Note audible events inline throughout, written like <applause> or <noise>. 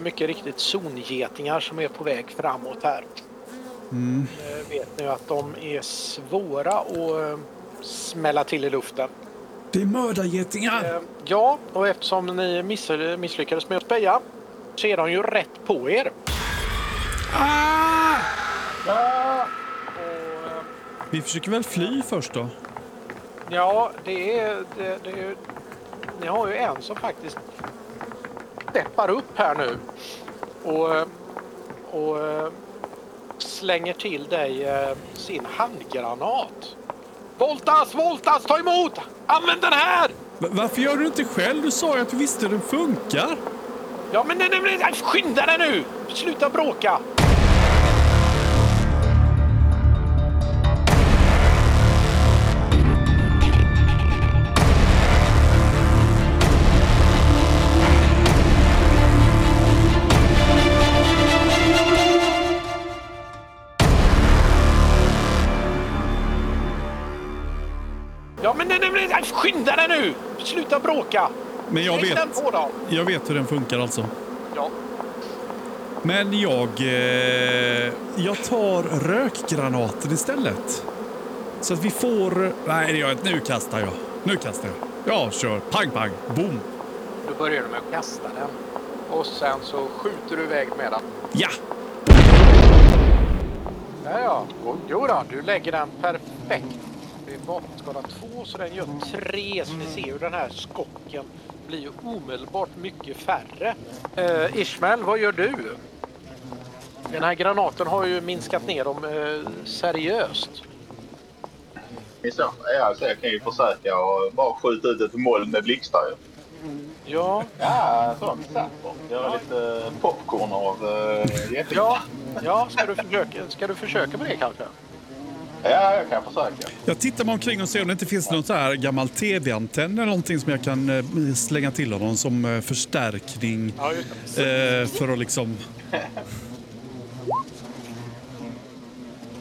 mycket riktigt zongetingar som är på väg framåt här. Mm. Eh, vet nu att de är svåra att eh, smälla till i luften. Det är mördargetingar! Eh, Ja, och eftersom ni missly- misslyckades med att speja så är de ju rätt på er. Ah! Och, eh, Vi försöker väl fly först då? ja, det är, det, det är... Ni har ju en som faktiskt steppar upp här nu och, eh, och eh, slänger till dig eh, sin handgranat. Voltas, Voltas, ta emot! Använd den här! Va- varför gör du inte själv? Du sa ju att du visste hur den funkar. Ja, men nej, nej, nej, nej, skynda dig nu! Sluta bråka! Ja, men nej, nej, nej, nej, skynda dig nu! Sluta bråka! Men jag Lägg vet, den på dem! jag vet hur den funkar alltså. Ja. Men jag... Eh, jag tar rökgranaten istället. Så att vi får... Nej, det gör jag inte. Nu kastar jag. Nu kastar jag. Ja, kör. Pang, pang. Boom. Då börjar du med att kasta den. Och sen så skjuter du iväg med den. Ja! Ja, ja. Jo- Jo då, du lägger den perfekt. Det är vapenskada 2 så den gör 3. Så ni ser ju den här skocken blir ju omedelbart mycket färre. Eh, Ismael, vad gör du? Den här granaten har ju minskat ner dem eh, seriöst. I så fall, ja, så jag kan ju försöka och bara skjuta ut ett moln med blixtar ju. Ja, Ja, sån sapper. Göra lite eh, popcorn av uh, ja, ja. Ska, du försöka, ska du försöka med det kanske? ja, jag kan försöka. Jag tittar mig omkring och ser om det inte finns någon så här gammal tv-antenn eller någonting som jag kan eh, slänga till honom som eh, förstärkning. Ja, just Eh, för att liksom...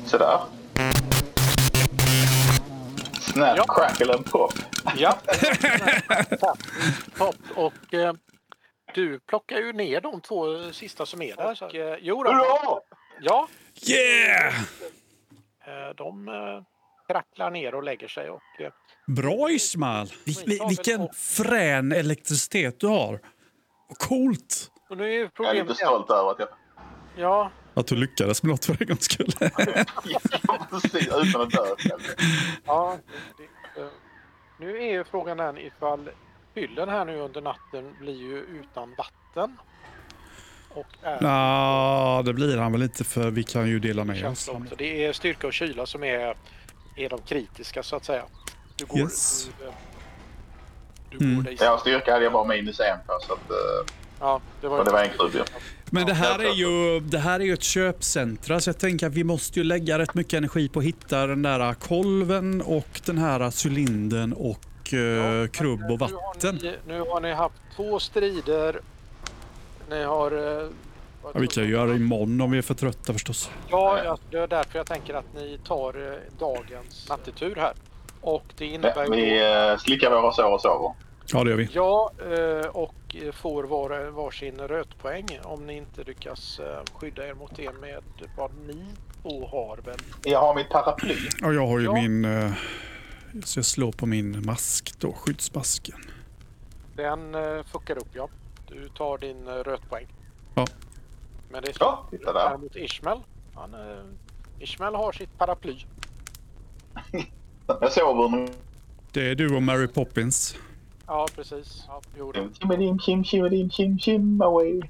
Sådär. Snap, Ja. crackle and pop. Ja. <laughs> Topp. Och eh, du plockar ju ner de två sista som är där. Och, eh, jo då. Hurra! Ja, Yeah! eh, de eh, kracklar ner och lägger sig. Och, eh, Bra Ismail! Vi, vi, vilken frän elektricitet du har. Coolt! och nu är ju Jag är problemet... lite stolt över att jag... <laughs> Ja, Att du lyckades med något för en gångs <laughs> skull. Precis, utan att dö själv. ja. Det, eh, nu är ju frågan den ifall hyllen här nu under natten blir ju utan vatten. Och är Nja, det blir han väl inte för vi kan ju dela med oss. känsla också. Det är styrka och kyla som är, är de kritiska så att säga. Du går, Yes. du, eh, du Mm. går dig Ja, styrka hade jag bara minus en på så att... eh, Ja, det var, och det var en klubb ju. Men det här, är ju, det här är ju ett köpcentra så jag tänker att vi måste ju lägga rätt mycket energi på att hitta den där kolven och den här cylindern och eh, krubb och vatten. Nu har, ni, nu har ni haft två strider. Ni har... eh, Ja, vi kan ju göra det imorgon om vi är för trötta förstås. Ja, ja, det är därför jag tänker att ni tar eh, dagens nattetur här. Och det Ja, innebär vi ju... eh, slickar våra sår och sover. Ja, det gör vi. Ja, eh, och eh, får var, varsin rötpoäng om ni inte lyckas eh, skydda er mot det med vad ni två har väl? Jag har mitt paraply. Ja, jag har ju Ja. min... eh, Så jag slår på min mask då, skyddsmasken. Den eh, fuckar upp ja. Du tar din eh, rötpoäng. Ja. Men det är så. Ja, titta där. Däremot Ismael. Han, eh, Ismael har sitt paraply. Jag sover under... Det är du och Mary Poppins. Ja, precis. Ja, jo, Mm. då. Chimidim, chim, chimidim, chim, chim away.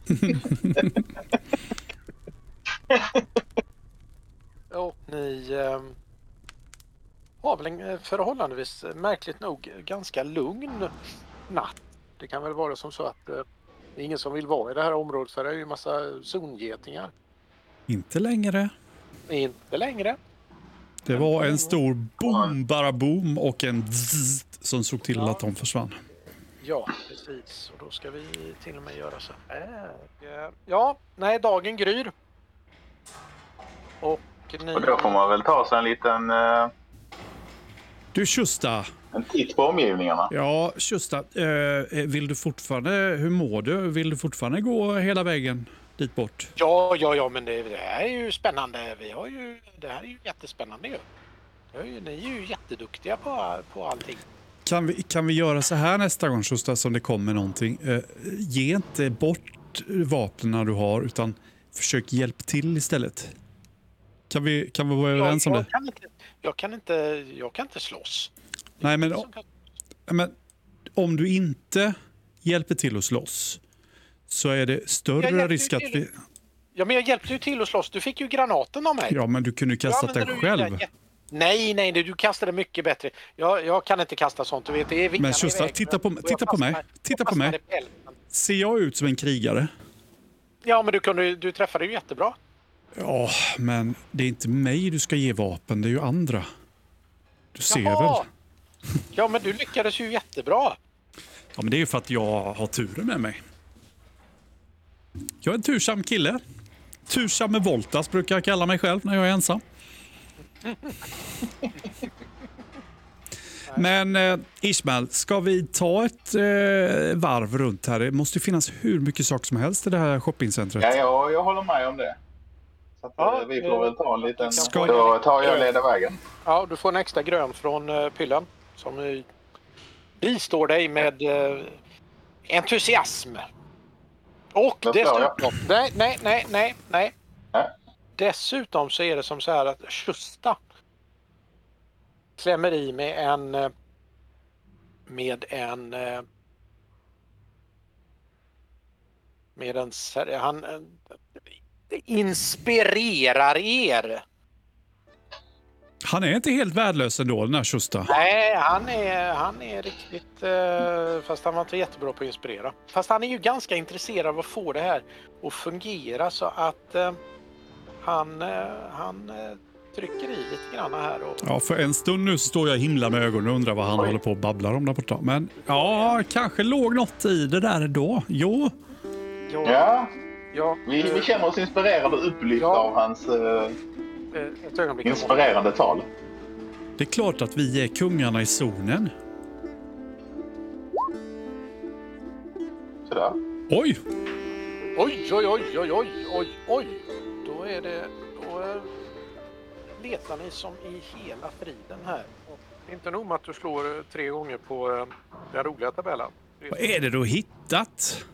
Och ni ehm, har väl en eh, förhållandevis eh, märkligt nog eh, ganska lugn natt. Det kan väl vara som så att eh, det är ingen som vill vara i det här området för det är ju en massa zongetingar. Inte längre. Inte längre. Det var en stor boom, bara boom och en zzz som såg till att de försvann. Ja, precis. Och då ska vi till och med göra så här. Eh, Ja, nej, dagen gryr. Och ni... Och då får man väl ta sig en liten... eh, Du Tjusta. En titt på omgivningarna. Ja, Tjusta. eh, vill du fortfarande... Hur mår du? Vill du fortfarande gå hela vägen dit bort? Ja, ja, ja, men det, det här är ju spännande. Vi har ju, det här är ju jättespännande ju. Det är ju- Ni är ju jätteduktiga på, på allting. Kan vi, kan vi göra så här nästa gång, Schusta, som det kommer någonting? Eh, ge inte bort vapnen du har, utan försök hjälp till istället. Kan vi, kan vi vara Jag, överens om det? jag, kan inte, jag, kan inte, jag kan inte slåss. Nej, men, Som kan- men om du inte hjälper till att slåss så är det Jag större hjälpte risk ju att till. vi... Ja, men jag hjälpte ju till att slåss. Du fick ju granaten av mig. Ja, men du kunde ju Då kastat använder den du ju den själv. jätte- Nej, nej, nej, du kastade mycket bättre. Jag, jag kan inte kasta sånt, du vet. Det är vingarna Men Schuster, iväg. titta på- Och jag titta på mig. fastnar- Titta jag på mig. fastnar i pälsen. Ser jag ut som en krigare? Ja, men du, kunde, ju- du träffade ju jättebra. Ja, men det är inte mig du ska ge vapen, det är ju andra. Du ser Jaha! väl? Ja, men du lyckades ju jättebra. Ja, men det är ju för att jag har turen med mig. Jag är en tursam kille. Tursam med Voltas brukar jag kalla mig själv när jag är ensam. Men eh, Ismail, ska vi ta ett eh, varv runt här? Det måste ju finnas hur mycket saker som helst i det här shoppingcentret. Ja, jag, jag håller med om det. Så att, Ja, eh, vi eh, får väl ta en liten... ska- Då tar jag och leder vägen. Ja, du får en extra grön från uh, pyllen som eh, bistår dig med eh, entusiasm. Och Vad sa dessutom... Nej, nej, nej, nej, nej. Nej. Dessutom så är det som så här att Schusta klämmer i med en... eh, Med en... eh, Med en... ser- Han eh, inspirerar er. Han är inte helt värdelös ändå, den här Schusta. Nej, han är, han är riktigt... eh, fast han var inte jättebra på att inspirera. Fast han är ju ganska intresserad av att få det här att fungera så att eh, han, eh, han eh, trycker i lite grann här. Och, Ja, för en stund nu så står jag och himlar med ögonen och undrar vad han håller på och babblar om där borta. Men ja, kanske låg något i det där då. Jo, ja, Ja, ja, vi, vi känner oss inspirerade och upplyfta Ja. av hans eh, eh, ett ögonblick. inspirerande tal. det är klart att vi är kungarna i zonen. Sådär. Oj, Oj, oj, oj, oj, oj, oj, oj. Då är det... Då eh, letar ni som i hela friden här. Och inte nog med att du slår eh, tre gånger på eh, den roliga tabellen. vad är det du har hittat?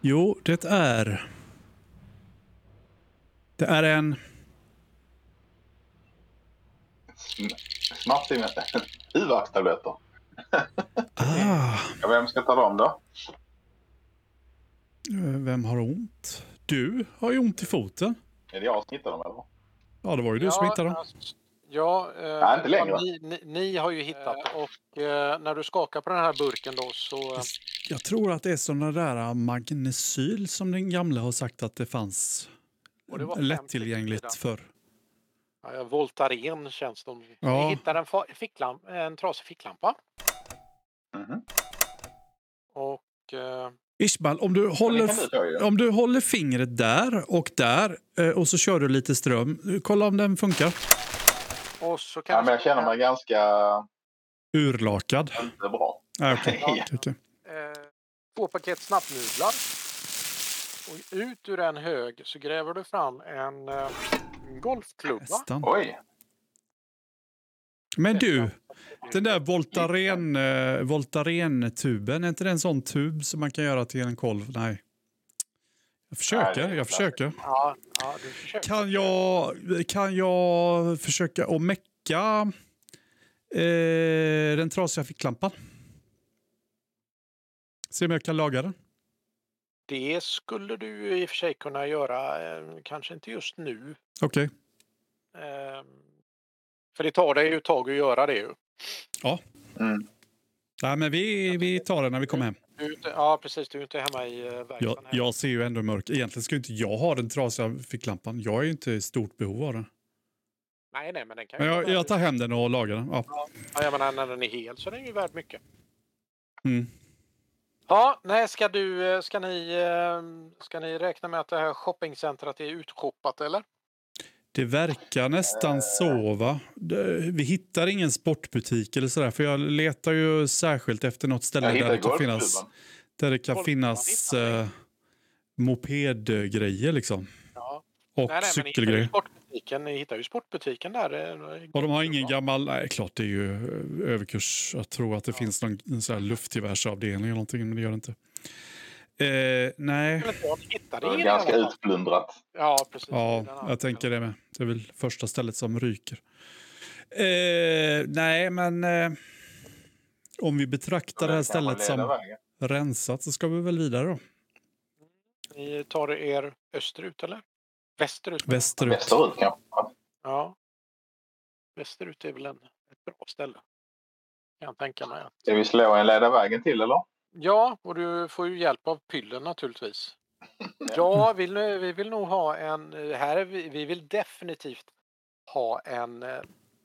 Jo, det är... Det är en... Sm- Smart <laughs> i huvudvärkstabletter. Ah, Ja, vem ska ta dem då? eh, vem har ont? Du har ju ont i foten. Är det jag som hittar dem eller? Ja, det var ju du som hittade dem. alltså, Ja, eh, Nej, inte längre, ja, va? ni, ni, ni har ju hittat det. Och eh, när du skakar på den här burken då så... eh, Jag tror att det är sådana där magnesyl som den gamla har sagt att det fanns Och det var fem lättillgängligt stycken för. Ja, jag voltar in känns det som. Ja. Ni hittar en, fa- ficklamp, en trasig ficklampa. Mhm. Och... Eh, Ismail, om du Det håller, kan du ta ju. om du håller fingret där och där eh, och så kör du lite ström. Kolla om den funkar. och så kan Ja, vi- men jag känner mig ganska Urlakad. inte bra. Ah, okej. Ja. Okej. eh, två paket snabbnudlar. Och ut ur en hög så gräver du fram en eh, golfklubba. Nästan. Oj, Men du, den där Voltaren, eh, Voltaren-tuben, är inte det en sån tub som man kan göra till en kolv? Nej. Jag Nej, det försöker, är jag klart. försöker. Ja, ja, du försöker. Kan jag, kan jag försöka att mecka eh, den trasiga ficklampan? Se om jag kan laga den. Det skulle du i och för sig kunna göra, eh, kanske inte just nu. Okej. eh, För det tar dig ju ett tag att göra det ju. Nej, men vi, vi tar den när vi kommer hem. Du, är inte- ja precis, du är inte hemma i eh, Jag, verkstaden. här. jag ser ju ändå mörk. Egentligen ska ju inte jag ha den trasiga ficklampan. Jag är ju inte i stort behov av den. Nej, nej, men den kan Men ju jag, vara- jag tar hem den och lagar den. Ja. ja, jag menar, när den är hel så är den ju värd mycket. Mm. Ja, nej, ska, ehm, du, eh, ska, ni, eh, ska ni räkna med att det här shoppingcentret är utshoppat eller? Det verkar nästan så, va? Det- Vi hittar ingen sportbutik eller sådär, för jag letar ju särskilt efter något ställe Jag där hittar det kan golfklubban. finnas, där det kan finnas eh, mopedgrejer liksom. Ja. Och men ni hittar, ju cykelgrejer. sportbutiken, ni hittar ju sportbutiken där. eh, Och de har ingen gammal, nej klart det är ju eh, överkurs. Jag tror att det finns någon en sån här luftgevärsavdelning eller någonting, men det gör det inte. Eh, nej, Eller jag hittade Det är ingen ganska i alla fall. utplundrat. Ja, precis. ja, Den andra. jag tänker det med. Det är väl första stället som ryker. Eh, nej, men eh, om vi betraktar det här stället som rensat så ska vi väl vidare då. Ni tar er österut eller? Västerut? menar jag. Västerut. Västerut kanske. Ja. Västerut är väl en, ett bra ställe. Kan jag tänka mig. Ska vi slå en leda vägen till eller? Ja, och du får ju hjälp av pyllen naturligtvis. Ja, vill, nu- vi vill nog ha en... Här är vi, vi vill definitivt ha en... eh,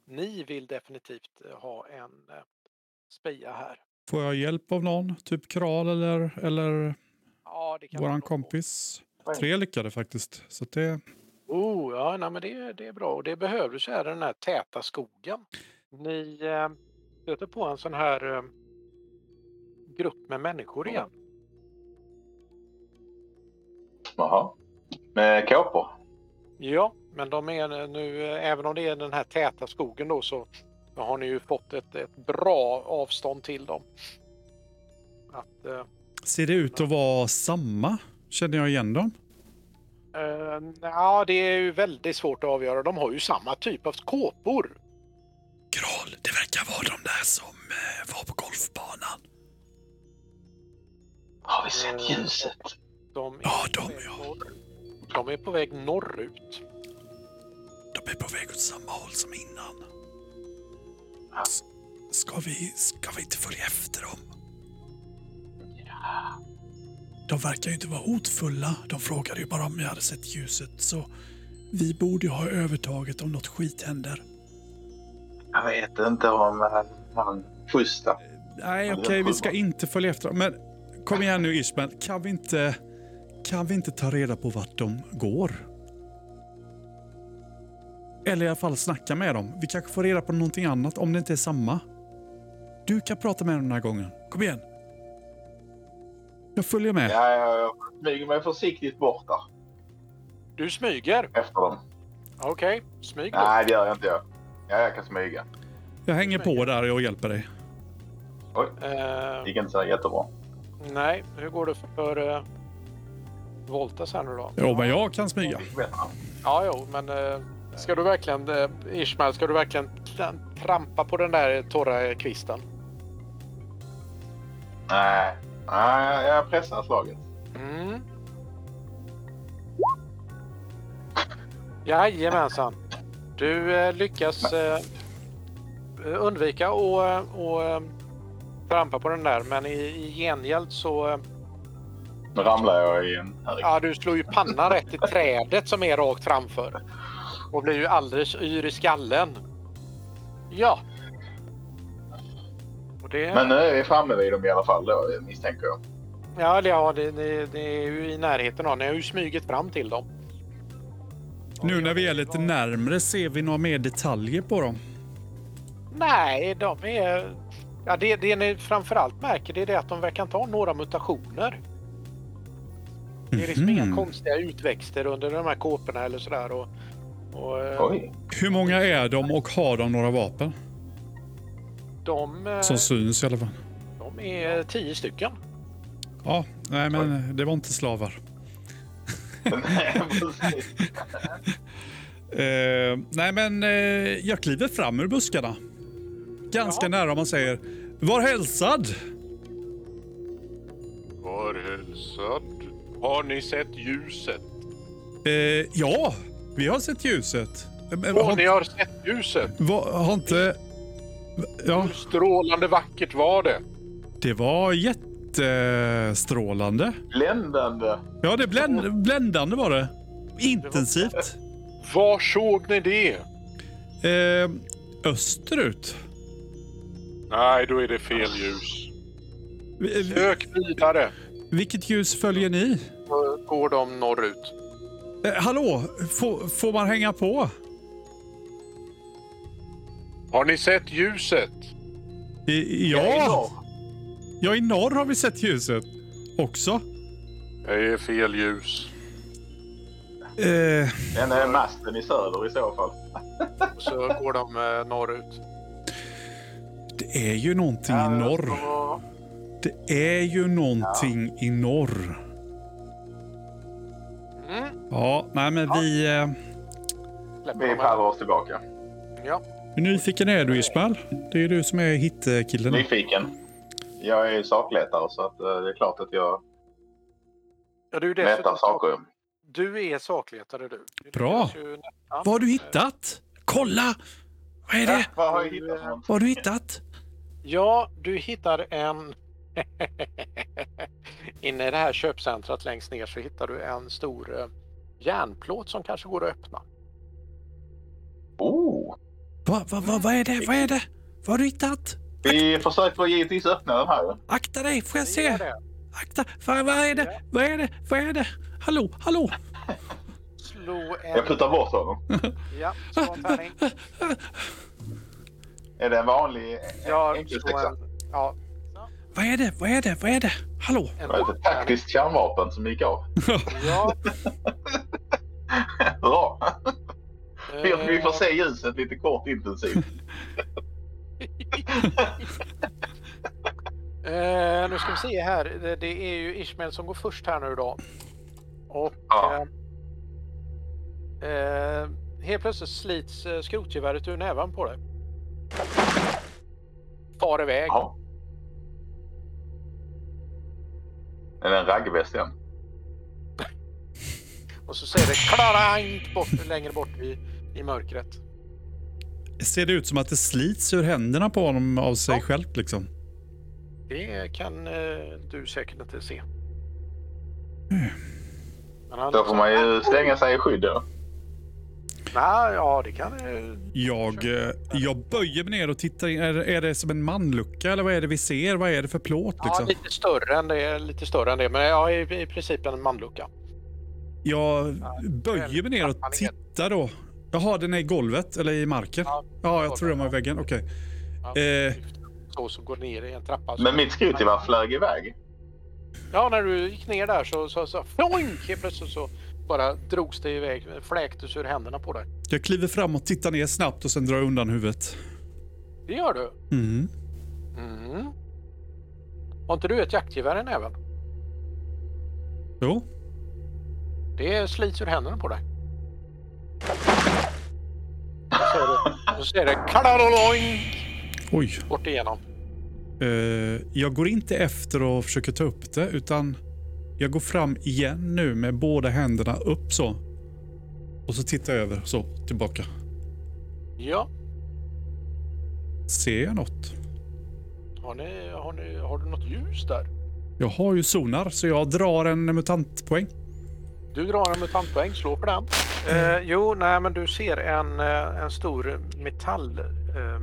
Ni vill definitivt eh, ha en eh, speja här. Får jag hjälp av någon? Typ Kral eller, eller Ja, det kan man våran nog få. kompis? Tre lyckade faktiskt. Så att det, Oh, ja, nej, men det, det är bra. Och det behövdes här i den här täta skogen. Ni eh, stöter på en sån här eh, grupp med människor igen. Jaha. Med kåpor? Ja, men de är nu, eh, även om det är den här täta skogen då så har ni ju fått ett, ett bra avstånd till dem. Att, eh, ser det ut att vara samma? Känner jag igen dem? eh, ja, det är ju väldigt svårt att avgöra. De har ju samma typ av kåpor. Kral, det verkar vara de där som eh, var på golfbanan. Har vi sett ljuset? Eh, De är, Ja, de, på väg ja. norr- de är på väg norrut. De är på väg åt samma håll som innan. S- Ska vi, ska vi inte följa efter dem? De verkar ju inte vara hotfulla. De frågade ju bara om jag hade sett ljuset, så vi borde ju ha övertaget om något skit händer. Jag vet inte om eh, han schyssta. Nej, okej, vi ska inte följa efter dem. Men kom igen nu Ismael, kan vi inte, kan vi inte ta reda på vart de går? Eller i alla fall snacka med dem. Vi kanske får reda på någonting annat om det inte är samma. Du kan prata med dem den här gången. Kom igen. Jag följer med. Ja, jag, jag smyger mig försiktigt bort där Du smyger. efter dem. Okej, smyg då. Nej, det gör jag inte. Jag. Ja, jag kan smyga. Jag hänger på där och hjälper dig. Eh, Det gick inte så jättebra. nej, hur går det för eh, Voltas här nu då? Jo, men jag kan smyga. Ja, jo, men eh, ska du verkligen, eh, Ishmael, ska du verkligen tra- trampa på den där torra eh, kvisten? Nej, Nej, jag pressar slaget. Mm. Jajamensan. Du eh, lyckas eh, undvika att och, eh, trampa på den där, men i, i gengäld så... Eh, Nu ramlar jag i en... Herregud. ja, du slår ju pannan rätt i trädet som är rakt framför. Och blir ju alldeles yr i skallen. Ja. Och det... Men nu är vi framme vid dem i alla fall då, misstänker jag. Ja, det, ja det, det, det är ju i närheten av. Ni har ju smugit fram till dem. Nu när vi är lite närmre ser vi några mer detaljer på dem. Nej, de är... Ja, det, det ni framförallt märker det är det att de verkar inte ha några mutationer. Det är liksom Mhm. inga konstiga utväxter under de här kåporna eller sådär. Och, och, eh, Oj. <laughs> Hur många är de och har de några vapen? de, eh, Som syns i alla fall. de är tio stycken. Ja, nej men det var inte slavar. Precis. Eh, nej men eh, jag kliver fram ur buskarna. Ganska Ja. nära om man säger Var hälsad! Var hälsad. Har ni sett ljuset? Eh, ja, vi har sett ljuset. Eh, men Och ni har, har sett ljuset? va, har inte... Ja, Hur strålande vackert var det? det var jättestrålande. Bländande. Ja, det bländ, bländande var det. Intensivt. Var såg ni det? Eh, österut. Nej, då är det fel Ah. ljus. Vi- vi- Sök vidare. Vilket ljus följer ni? Så går de norrut. Eh, hallå, får, får man hänga på? Har ni sett ljuset? I, ja, ja, i norr har vi sett ljuset också. Det är fel ljus. Eh, Den är masten i söder i så fall. Så går de eh, norrut. det är ju någonting i norr. Och Det är ju någonting i norr. Mm. Ja, nej men vi... Eh, släpper Vi de här. pallar oss tillbaka. Ja. hur nyfiken är du Ismail? Det är ju du som är hittekillen. Nyfiken. Jag är ju sakletare så att, eh, det är klart att jag Ja, du, är letar dessutom, saker. du är sakletare du. Det Bra. känns ju nästan. Vad har du hittat? Kolla! Vad är Ja, det? vad har jag hittat för något? Eh, Vad har du hittat? Ja, du hittar en... <laughs> Inne i det här köpcentrat längst ner så hittar du en stor eh, järnplåt som kanske går att öppna. Oh. Va, va, va, vad är det? Vad är det? Vad har du hittat? Vi försökte väl givetvis öppna den här. Akta dig, får jag Gör se? det. Akta! Vad, vad är det? Vad är det? Vad är det? Hallå, hallå! Slå en... Jag puttar bort honom. Ja, slå en tärning. Är det en vanlig eh, Ja, slå enkelsexa? en... Ja, Vad är det? Vad är det? Vad är det? Hallå! en Var det ett taktiskt kärnvapen som gick av? <laughs> Ja, Bra! Vi, vi får eh, se ljuset lite kort intensivt. Eh, nu ska vi se här. Det, det är ju Ismail som går först här nu då. Och... Ja. Eh, eh, helt plötsligt slits eh, skrotgeväret ur nävan på dig. Far iväg. Ja. Är det en raggväst igen? Och så säger det klarang bort, längre bort i, i mörkret. Ser det ut som att det slits ur händerna på honom av sig självt liksom? Det kan eh, du säkert inte se. Men han, Då får man ju slänga sig i skydd då. Nej, ja, det kan... eh, Jag, eh, jag böjer mig ner och tittar in. Är, är det som en manlucka eller vad är det vi ser? Vad är det för plåt Ja, liksom? lite större än det. Lite större än det. Men ja, i, i princip en manlucka. Jag böjer mig ner och tittar då. Jaha, den är i golvet eller i marken? Ja, Ja, jag tror den var i väggen. Okej. Ja, Eh. Så, så går ner i en trappa. Men mitt skrotgevär flög iväg. Ja, när du gick ner där så... så, så fjoink! Helt plötsligt så bara drogs det iväg. Fläktes ur händerna på dig. Jag kliver fram och tittar ner snabbt och sen drar jag undan huvudet. Det gör du. Mm. Mm. Har inte du ett jaktgevär i näven? Jo. Det slits ur händerna på dig. Så ser det- Så ser det kalaloloing Oj. bort igenom. Eh, jag går inte efter och försöker ta upp det utan jag går fram igen nu med båda händerna upp så. Och så tittar jag över så tillbaka. Ja, Ser jag något? har, ni, har, ni, har du något ljus där? Jag har ju sonar så jag drar en mutantpoäng. Du drar en mutantpoäng, slå på den. Eh, jo, nej men du ser en, eh, en stor metall... Eh,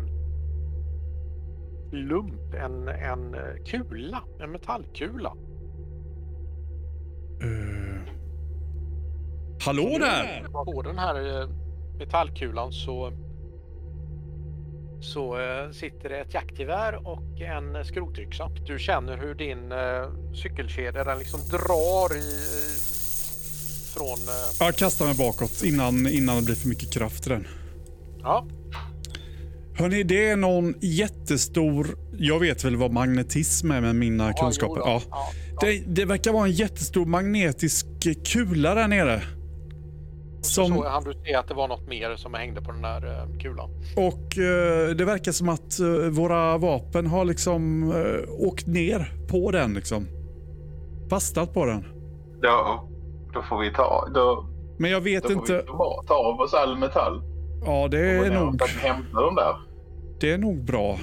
lump, en, en eh, kula, en metallkula. Eh. Hallå där! På den här eh, metallkulan så, så eh, sitter det ett jaktgevär och en eh, skrotyxa. Du känner hur din eh, cykelkedja den liksom drar i, i, från... Eh, Jag kastar mig bakåt innan, innan det blir för mycket kraft i den. ja, Hörni, det är någon jättestor... Jag vet väl vad magnetism är med mina kunskaper. jo då. Ja. Ja, Det, det verkar vara en jättestor magnetisk kula där nere. Som, Så han du se att det var något mer som hängde på den där eh, kulan. och eh, det verkar som att eh, våra vapen har liksom eh, åkt ner på den liksom. Fastnat på den. Ja, då får vi ta... Då, Men jag då vet får inte. vi ta, ta av oss all metall. Ja, det Och är ner nog... och hämta dem där. Det är nog bra.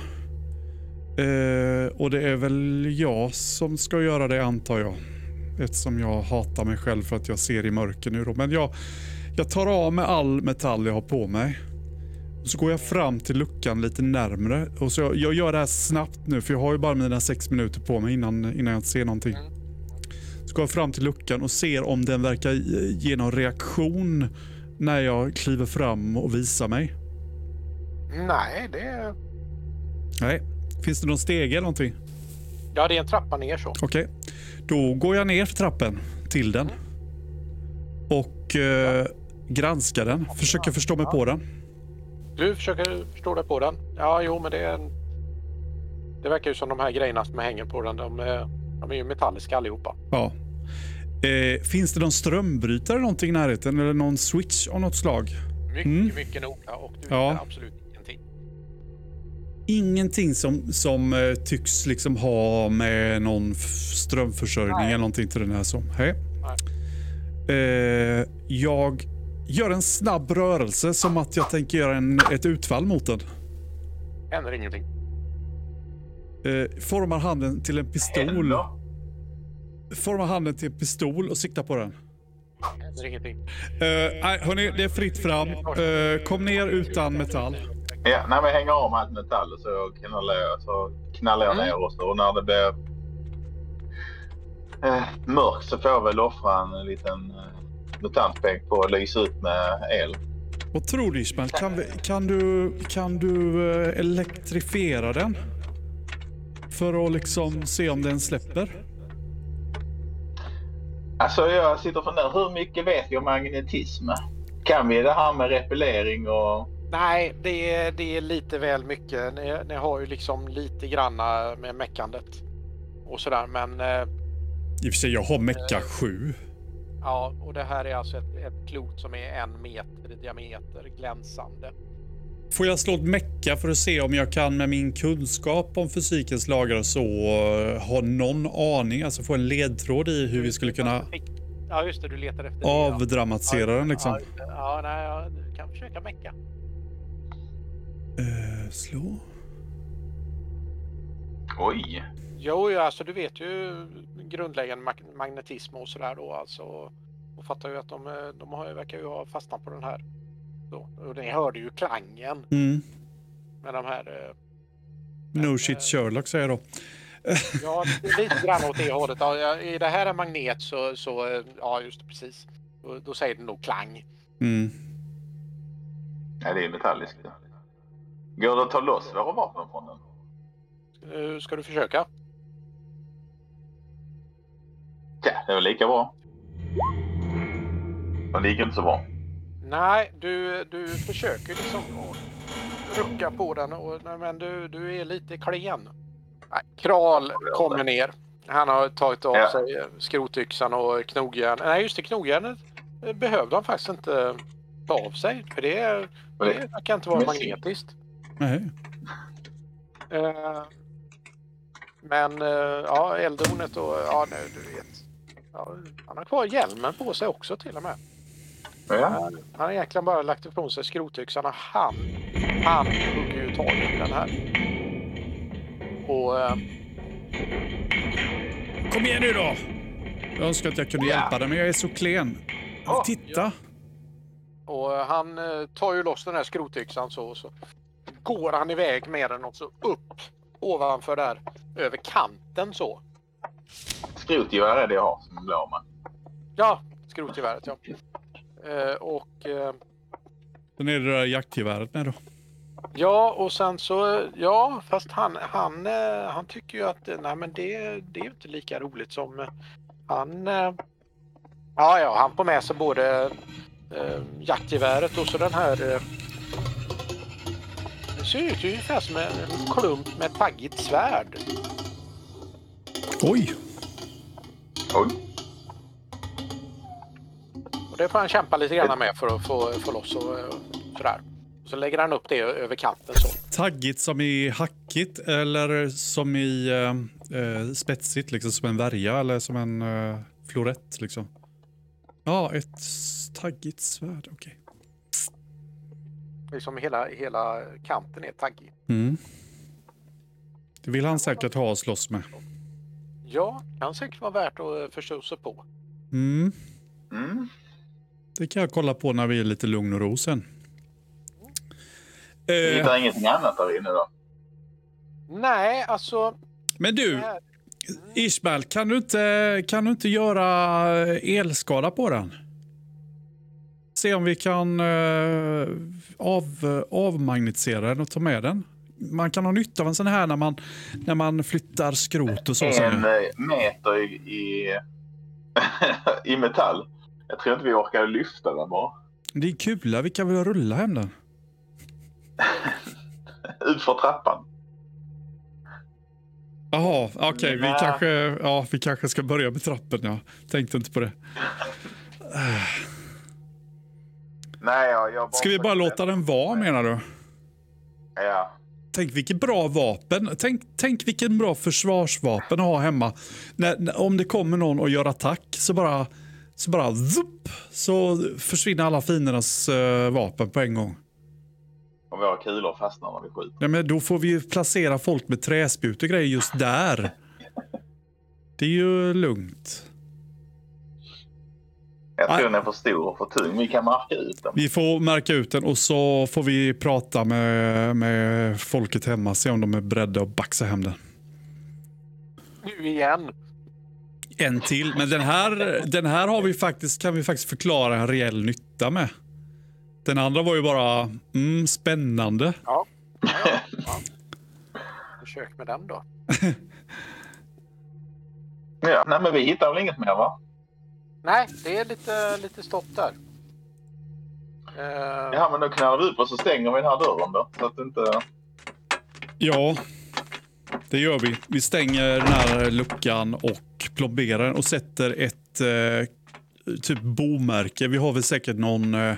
Eh, och det är väl jag som ska göra det antar jag. Eftersom jag hatar mig själv för att jag ser i mörker nu då. Men jag, jag tar av mig all metall jag har på mig. Och så går jag fram till luckan lite närmre. Och så jag, jag gör det här snabbt nu för jag har ju bara mina sex minuter på mig innan, innan jag inte ser någonting. Så går jag fram till luckan och ser om den verkar eh, ge någon reaktion när jag kliver fram och visar mig. Nej, det... Nej. Finns det någon stege eller någonting? Ja, det är en trappa ner så. Okej. Då går jag ner för trappen till den. Och eh, granskar den. Försöker förstå mig på den. Du försöker förstå dig på den. Ja, jo, men det är en... Det verkar ju som de här grejerna som hänger på den, de, är- de är ju metalliska allihopa. Ja. Eh, finns det någon strömbrytare eller någonting i närheten? Eller någon switch av något slag? Mycket, Mm. mycket noga och du Ja. hittar absolut ingenting. Ingenting som, som eh, tycks liksom ha med någon f- strömförsörjning eller någonting till den här som. Hej. Eh, jag gör en snabb rörelse som att jag tänker göra en, ett utfall mot den. Händer ingenting. Eh, formar handen till en pistol. Händer? Formar handen till en pistol och siktar på den. Händer ingenting. Eh, nej, hörni, det är fritt fram. Eh, kom ner utan metall. Ja, nej, men hänger av med allt metall och så knallar jag, så knallar Mm. jag ner också. Och när det blir eh, mörkt så får jag väl offra en liten eh, mutantpeng på att lysa ut med el. Vad tror du Ishmael? Kan, vi, kan du, kan du eh, elektrifiera den? För att liksom se om den släpper? Alltså jag sitter och funderar, hur mycket vet vi om magnetism? Kan vi det här med repellering och... Nej, det är, det är lite väl mycket. Ni, ni har ju liksom lite granna med meckandet och sådär, men eh, I och för sig, jag har mecka 7. ja, och det här är alltså ett, ett klot som är en meter i diameter glänsande. Får jag slå ett mecka för att se om jag kan med min kunskap om fysikens lagar och så eh, ha någon aning, alltså få en ledtråd i hur vi skulle kunna Ja, just det, du letar efter det. ja. avdramatisera den liksom? Ja, just det. ja, nej, ja, du kan försöka mecka. Eh, slå? Oj! Jo, ja, alltså du vet ju grundläggande mag- magnetism och sådär då alltså. Och fattar ju att de, eh, de har, ju- verkar ju ha fastnat på den här. Då. Och ni hörde ju klangen Mm. med de här eh, No shit Sherlock säger jag då. Ja, lite grann åt det hållet. Ja, ja, är det här en magnet så, så eh, ja, just det, precis. Då, då säger det nog klang. Mm. Nej, det är metalliskt. Går det att ta loss våra vapen från den? Eh, Ska du försöka? Ja, det är väl lika bra. Men det gick inte så bra. Nej, du, du försöker liksom att rucka på den, och, nej, men du, du är lite klen. Nej, Kral kommer ner. Han har tagit av Ja. sig eh, skrotyxan och knogjärn. Nej, just det, knogjärnet eh, behövde han faktiskt inte ta av sig, för det, Men det det- kan inte vara men- magnetiskt. Nej. Eh, men eh, ja, eldhornet och ja, nu, du vet. Ja, han har kvar hjälmen på sig också till och med. Ja. Han har egentligen bara lagt ifrån sig skrotyxan och han, han hugger ju tag i den här. Och eh, Kom igen nu då! Jag önskar att jag kunde hjälpa dig, men jag är så klen. Ja, Titta! Och han eh, tar ju loss den här skrotyxan så, så går han iväg med den också upp ovanför där över kanten så. Skrotgevär är det jag har som jag blir av med. Ja, skrotgeväret ja. Eh, och eh, Den är det där jaktgeväret med då. ja, och sen så ja, fast han han eh, han tycker ju att eh, nej, men det, det är ju inte lika roligt som eh, han. eh, Ja, ja, han får med sig både eh, jaktgeväret och så den här. Eh, det ser ut ungefär som en, en klump med taggigt svärd. Oj! Oj. Och det får han kämpa lite grann med för att få, få loss och eh, sådär. Så lägger han upp det över kanten så. Taggigt som i hackigt eller som i eh, eh, spetsigt, liksom som en värja eller som en eh, florett liksom. Ja, ett s- taggigt svärd. Okej. Liksom hela, hela kanten är taggig. Mm. Det vill han säkert ha att slåss med. Ja, kan säkert vara värt att eh, förstå sig på. Mm. Mm. Det kan jag kolla på när vi är lite lugn och ro sen. Vi Eh, hittar ingenting annat där inne då? Nej, alltså. men det du, här- Ismail, kan du inte, kan du inte göra eh, elskada på den? Se om vi kan eh, av, avmagnetisera den och ta med den. Man kan ha nytta av en sån här när man, när man flyttar skrot och så. säger en jag. eh, meter i, i, <laughs> i metall. Jag tror inte vi orkar lyfta den bara. Det är kul, vi kan väl rulla hem den? Utför trappan. Jaha, okej, vi, Nä. kanske, ja, vi kanske ska börja med trappen. Ja. Tänkte inte på det. Nej, jag, jag bara Ska vi bara låta den vara menar du? Ja. Tänk vilket bra vapen. Tänk, tänk vilken bra försvarsvapen att ha hemma. När, när, om det kommer någon och gör attack så bara, så bara zup, så försvinner alla fiendernas eh, vapen på en gång. Om våra kulor fastnar när vi skjuter. Ja, men då får vi ju placera folk med träspjut och grejer just där. Det är ju lugnt. Jag Nej. tror den är för stor och för tung. Vi kan marka ut den. Vi får märka ut den och så får vi prata med, med folket hemma. Se om de är beredda att baxa hem den. Nu igen. En till, men den här, den här har vi faktiskt, kan vi faktiskt förklara en reell nytta med. Den andra var ju bara mm, spännande. Ja. Ja, ja. ja. Försök med den då. Ja. Nej, men vi hittar väl inget mer va? Nej, det är lite, lite stopp där. Eh, Ja, men då knallar vi upp och så stänger vi den här dörren då. Så att inte... Ja, det gör vi. Vi stänger den här luckan och plomberar den och sätter ett eh, typ bomärke. Vi har väl säkert någon, eh,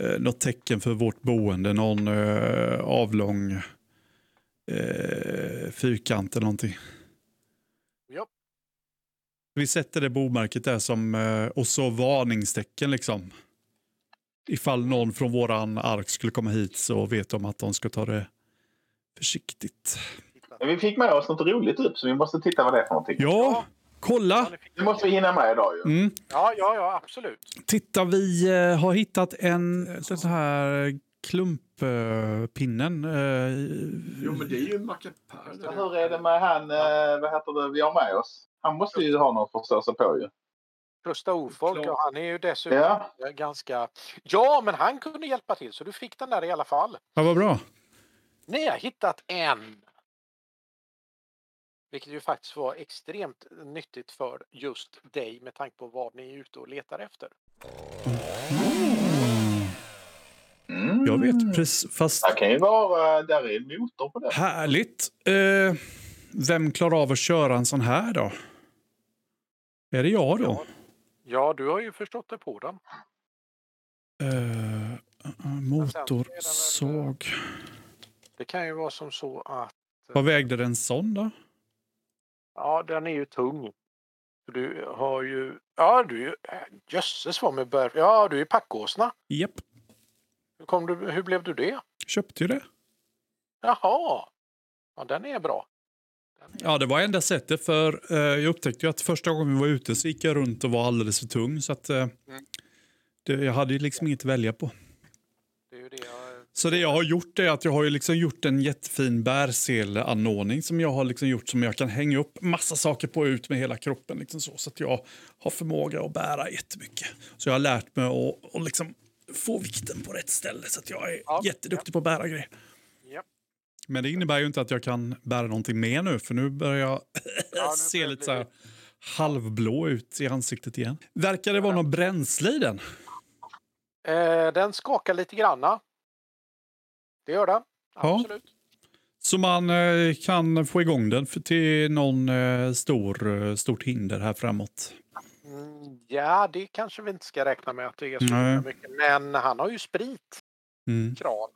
eh, något tecken för vårt boende. Någon eh, avlång eh, fyrkant eller någonting. Ja. Vi sätter det bomärket där som, eh, och så varningstecken liksom. Ifall någon från våran ark skulle komma hit så vet de att de ska ta det försiktigt. Men Vi fick med oss något roligt upp så vi måste titta vad det är för någonting. Ja, kolla! ni fick- Det måste vi hinna med idag ju. Mm. Ja, ja, ja, absolut. Titta, vi eh, har hittat en sån här klumppinnen. eh, Jo, men det är ju en mackapär. Så Mm. där. Hur är det med han, eh, vad heter det, vi har med oss? Han måste ju ha något att förstå sig på ju. Rusta ofolk och han är ju dessutom Ja. ganska... Ja, men han kunde hjälpa till så du fick den där i alla fall. Ja, vad bra. Ni har hittat en. Vilket ju faktiskt var extremt nyttigt för just dig med tanke på vad ni är ute och letar efter. Mm. Jag vet precis, fast Det kan ju vara, eh, där är en motor på <laughs> den. härligt. Eh, vem klarar av att köra en sån här då? Är det jag då? Ja, du har ju förstått det på den. Eh, motorsåg. Det kan ju vara som så att Vad vägde den sån då? ja, den är ju tung. Du har ju... Ja, du är ju... äh, Jösses vad med bär... Ja, du är ju packåsna. Japp, Hur, kom du... Hur blev du det? köpte ju det. Jaha! Ja, den är bra. Ja, det var enda sättet för eh, jag upptäckte ju att första gången vi var ute så gick jag runt och var alldeles för tung så att eh, det, jag hade ju liksom inget att välja på. Det är ju det jag... Så det jag har gjort är att jag har ju liksom gjort en jättefin bärseleanordning som jag har liksom gjort som jag kan hänga upp massa saker på ut med hela kroppen liksom så, så att jag har förmåga att bära jättemycket. Så jag har lärt mig att, att liksom få vikten på rätt ställe så att jag är Ja, jätteduktig på att bära grejer. Japp. Men det innebär ju inte att jag kan bära någonting mer nu för nu börjar jag <laughs> Ja, nu <laughs> se börjar lite det så här halvblå ut i ansiktet igen. Verkar det vara något bränsle i den? Eh, den skakar lite granna. Det gör den. Ja. Absolut. Så man eh, kan få igång den för till någon eh, stor, eh, stort hinder här framåt. Mm, ja, det kanske vi inte ska räkna med att det är så Nej. himla mycket. Men han har ju sprit, Mm. kran.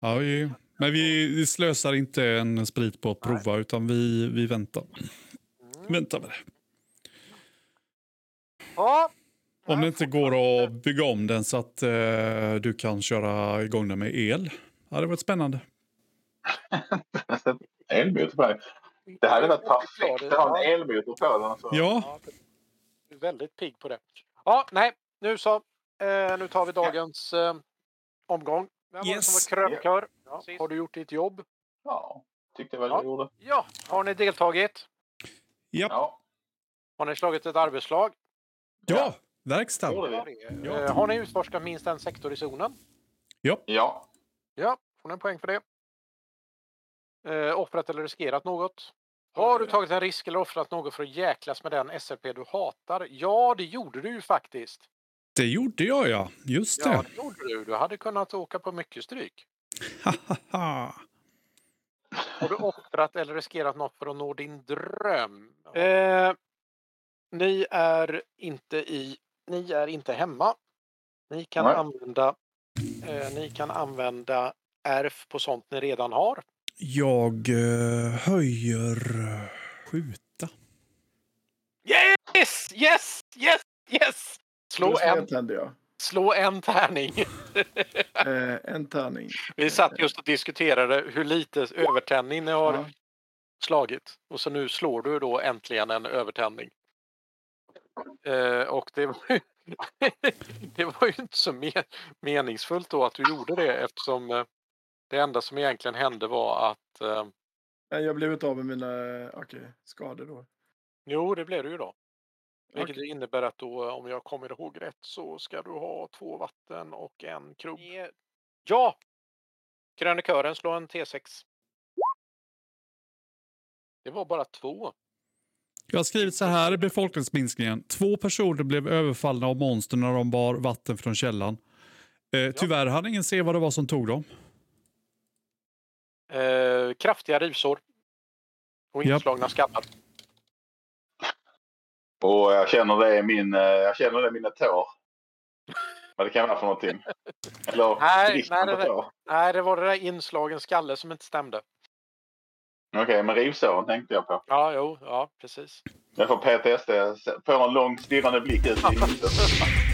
Ja, vi, men vi, vi slösar inte en sprit på att prova utan vi, vi väntar. Mm. Vänta med det. Ja, Om det inte går att bygga om den så att eh, du kan köra igång den med el. Ja, det varit spännande. Elmotor på den. Det hade varit perfekt att ha en elmotor på den. alltså. Så. Ja, Ja, du är väldigt pigg på det. Ja, nej, nu så. Eh, nu tar vi dagens eh, omgång. Vem var det som Yes. var krönikör? Ja. Har du gjort ditt jobb? Ja. Tyckte jag väl Ja. jag gjorde. Ja, har ni deltagit? Japp. Ja, Har ni slagit ett arbetslag? Ja, verkstad. det gjorde Ja, vi. det är- Ja. Eh, Har ni utforskat minst en sektor i zonen? Ja, Ja, får ni en poäng för det. Eh, offrat eller riskerat något? Har du tagit en risk eller offrat något för att jäklas med den SRP du hatar? Ja, det gjorde du ju faktiskt. Det gjorde jag, ja. Just Ja, det. det gjorde du. Du hade kunnat åka på mycket stryk. Haha. Har du offrat eller riskerat något för att nå din dröm? Eh, ni är inte i... Ni är inte hemma. Ni kan Nej. använda... Eh, ni kan använda ärf på sånt ni redan har. Jag eh, höjer... eh, Skjuta. Yes! Yes! Yes! Yes! Slå en, tände jag. slå en tärning. Eh, en tärning. Vi satt just och diskuterade hur lite övertändning ni har Ja. slagit. Och så nu slår du då äntligen en övertändning. Eh, och det var, ju, <laughs> det var ju inte så me- meningsfullt då att du gjorde det eftersom eh, det enda som egentligen hände var att... Eh, Nej, jag blev inte av med mina eh, okej, skador då. jo, det blev det ju då. Vilket innebär att då, om jag kommer ihåg rätt, så ska du ha två vatten och en krubb. Ja! Krönikören slår en T6. Det var bara två. Jag har skrivit så här i befolkningsminskningen. Två personer blev överfallna av monster när de bar vatten från källan. Eh, tyvärr hann ingen se vad det var som tog dem. Eh, kraftiga rivsår. Och Japp. inslagna skallar. och jag känner det i min, eh, jag känner det i mina tår. Vad det kan vara för någonting. Eller Nej, bristande nej, det- tår. Nej, det var det där inslagen skalle som inte stämde. Okej, men rivsåren tänkte jag på. Ja, jo, ja, precis. <laughs> Jag får PTSD. Får en lång stirrande blick ut i huset.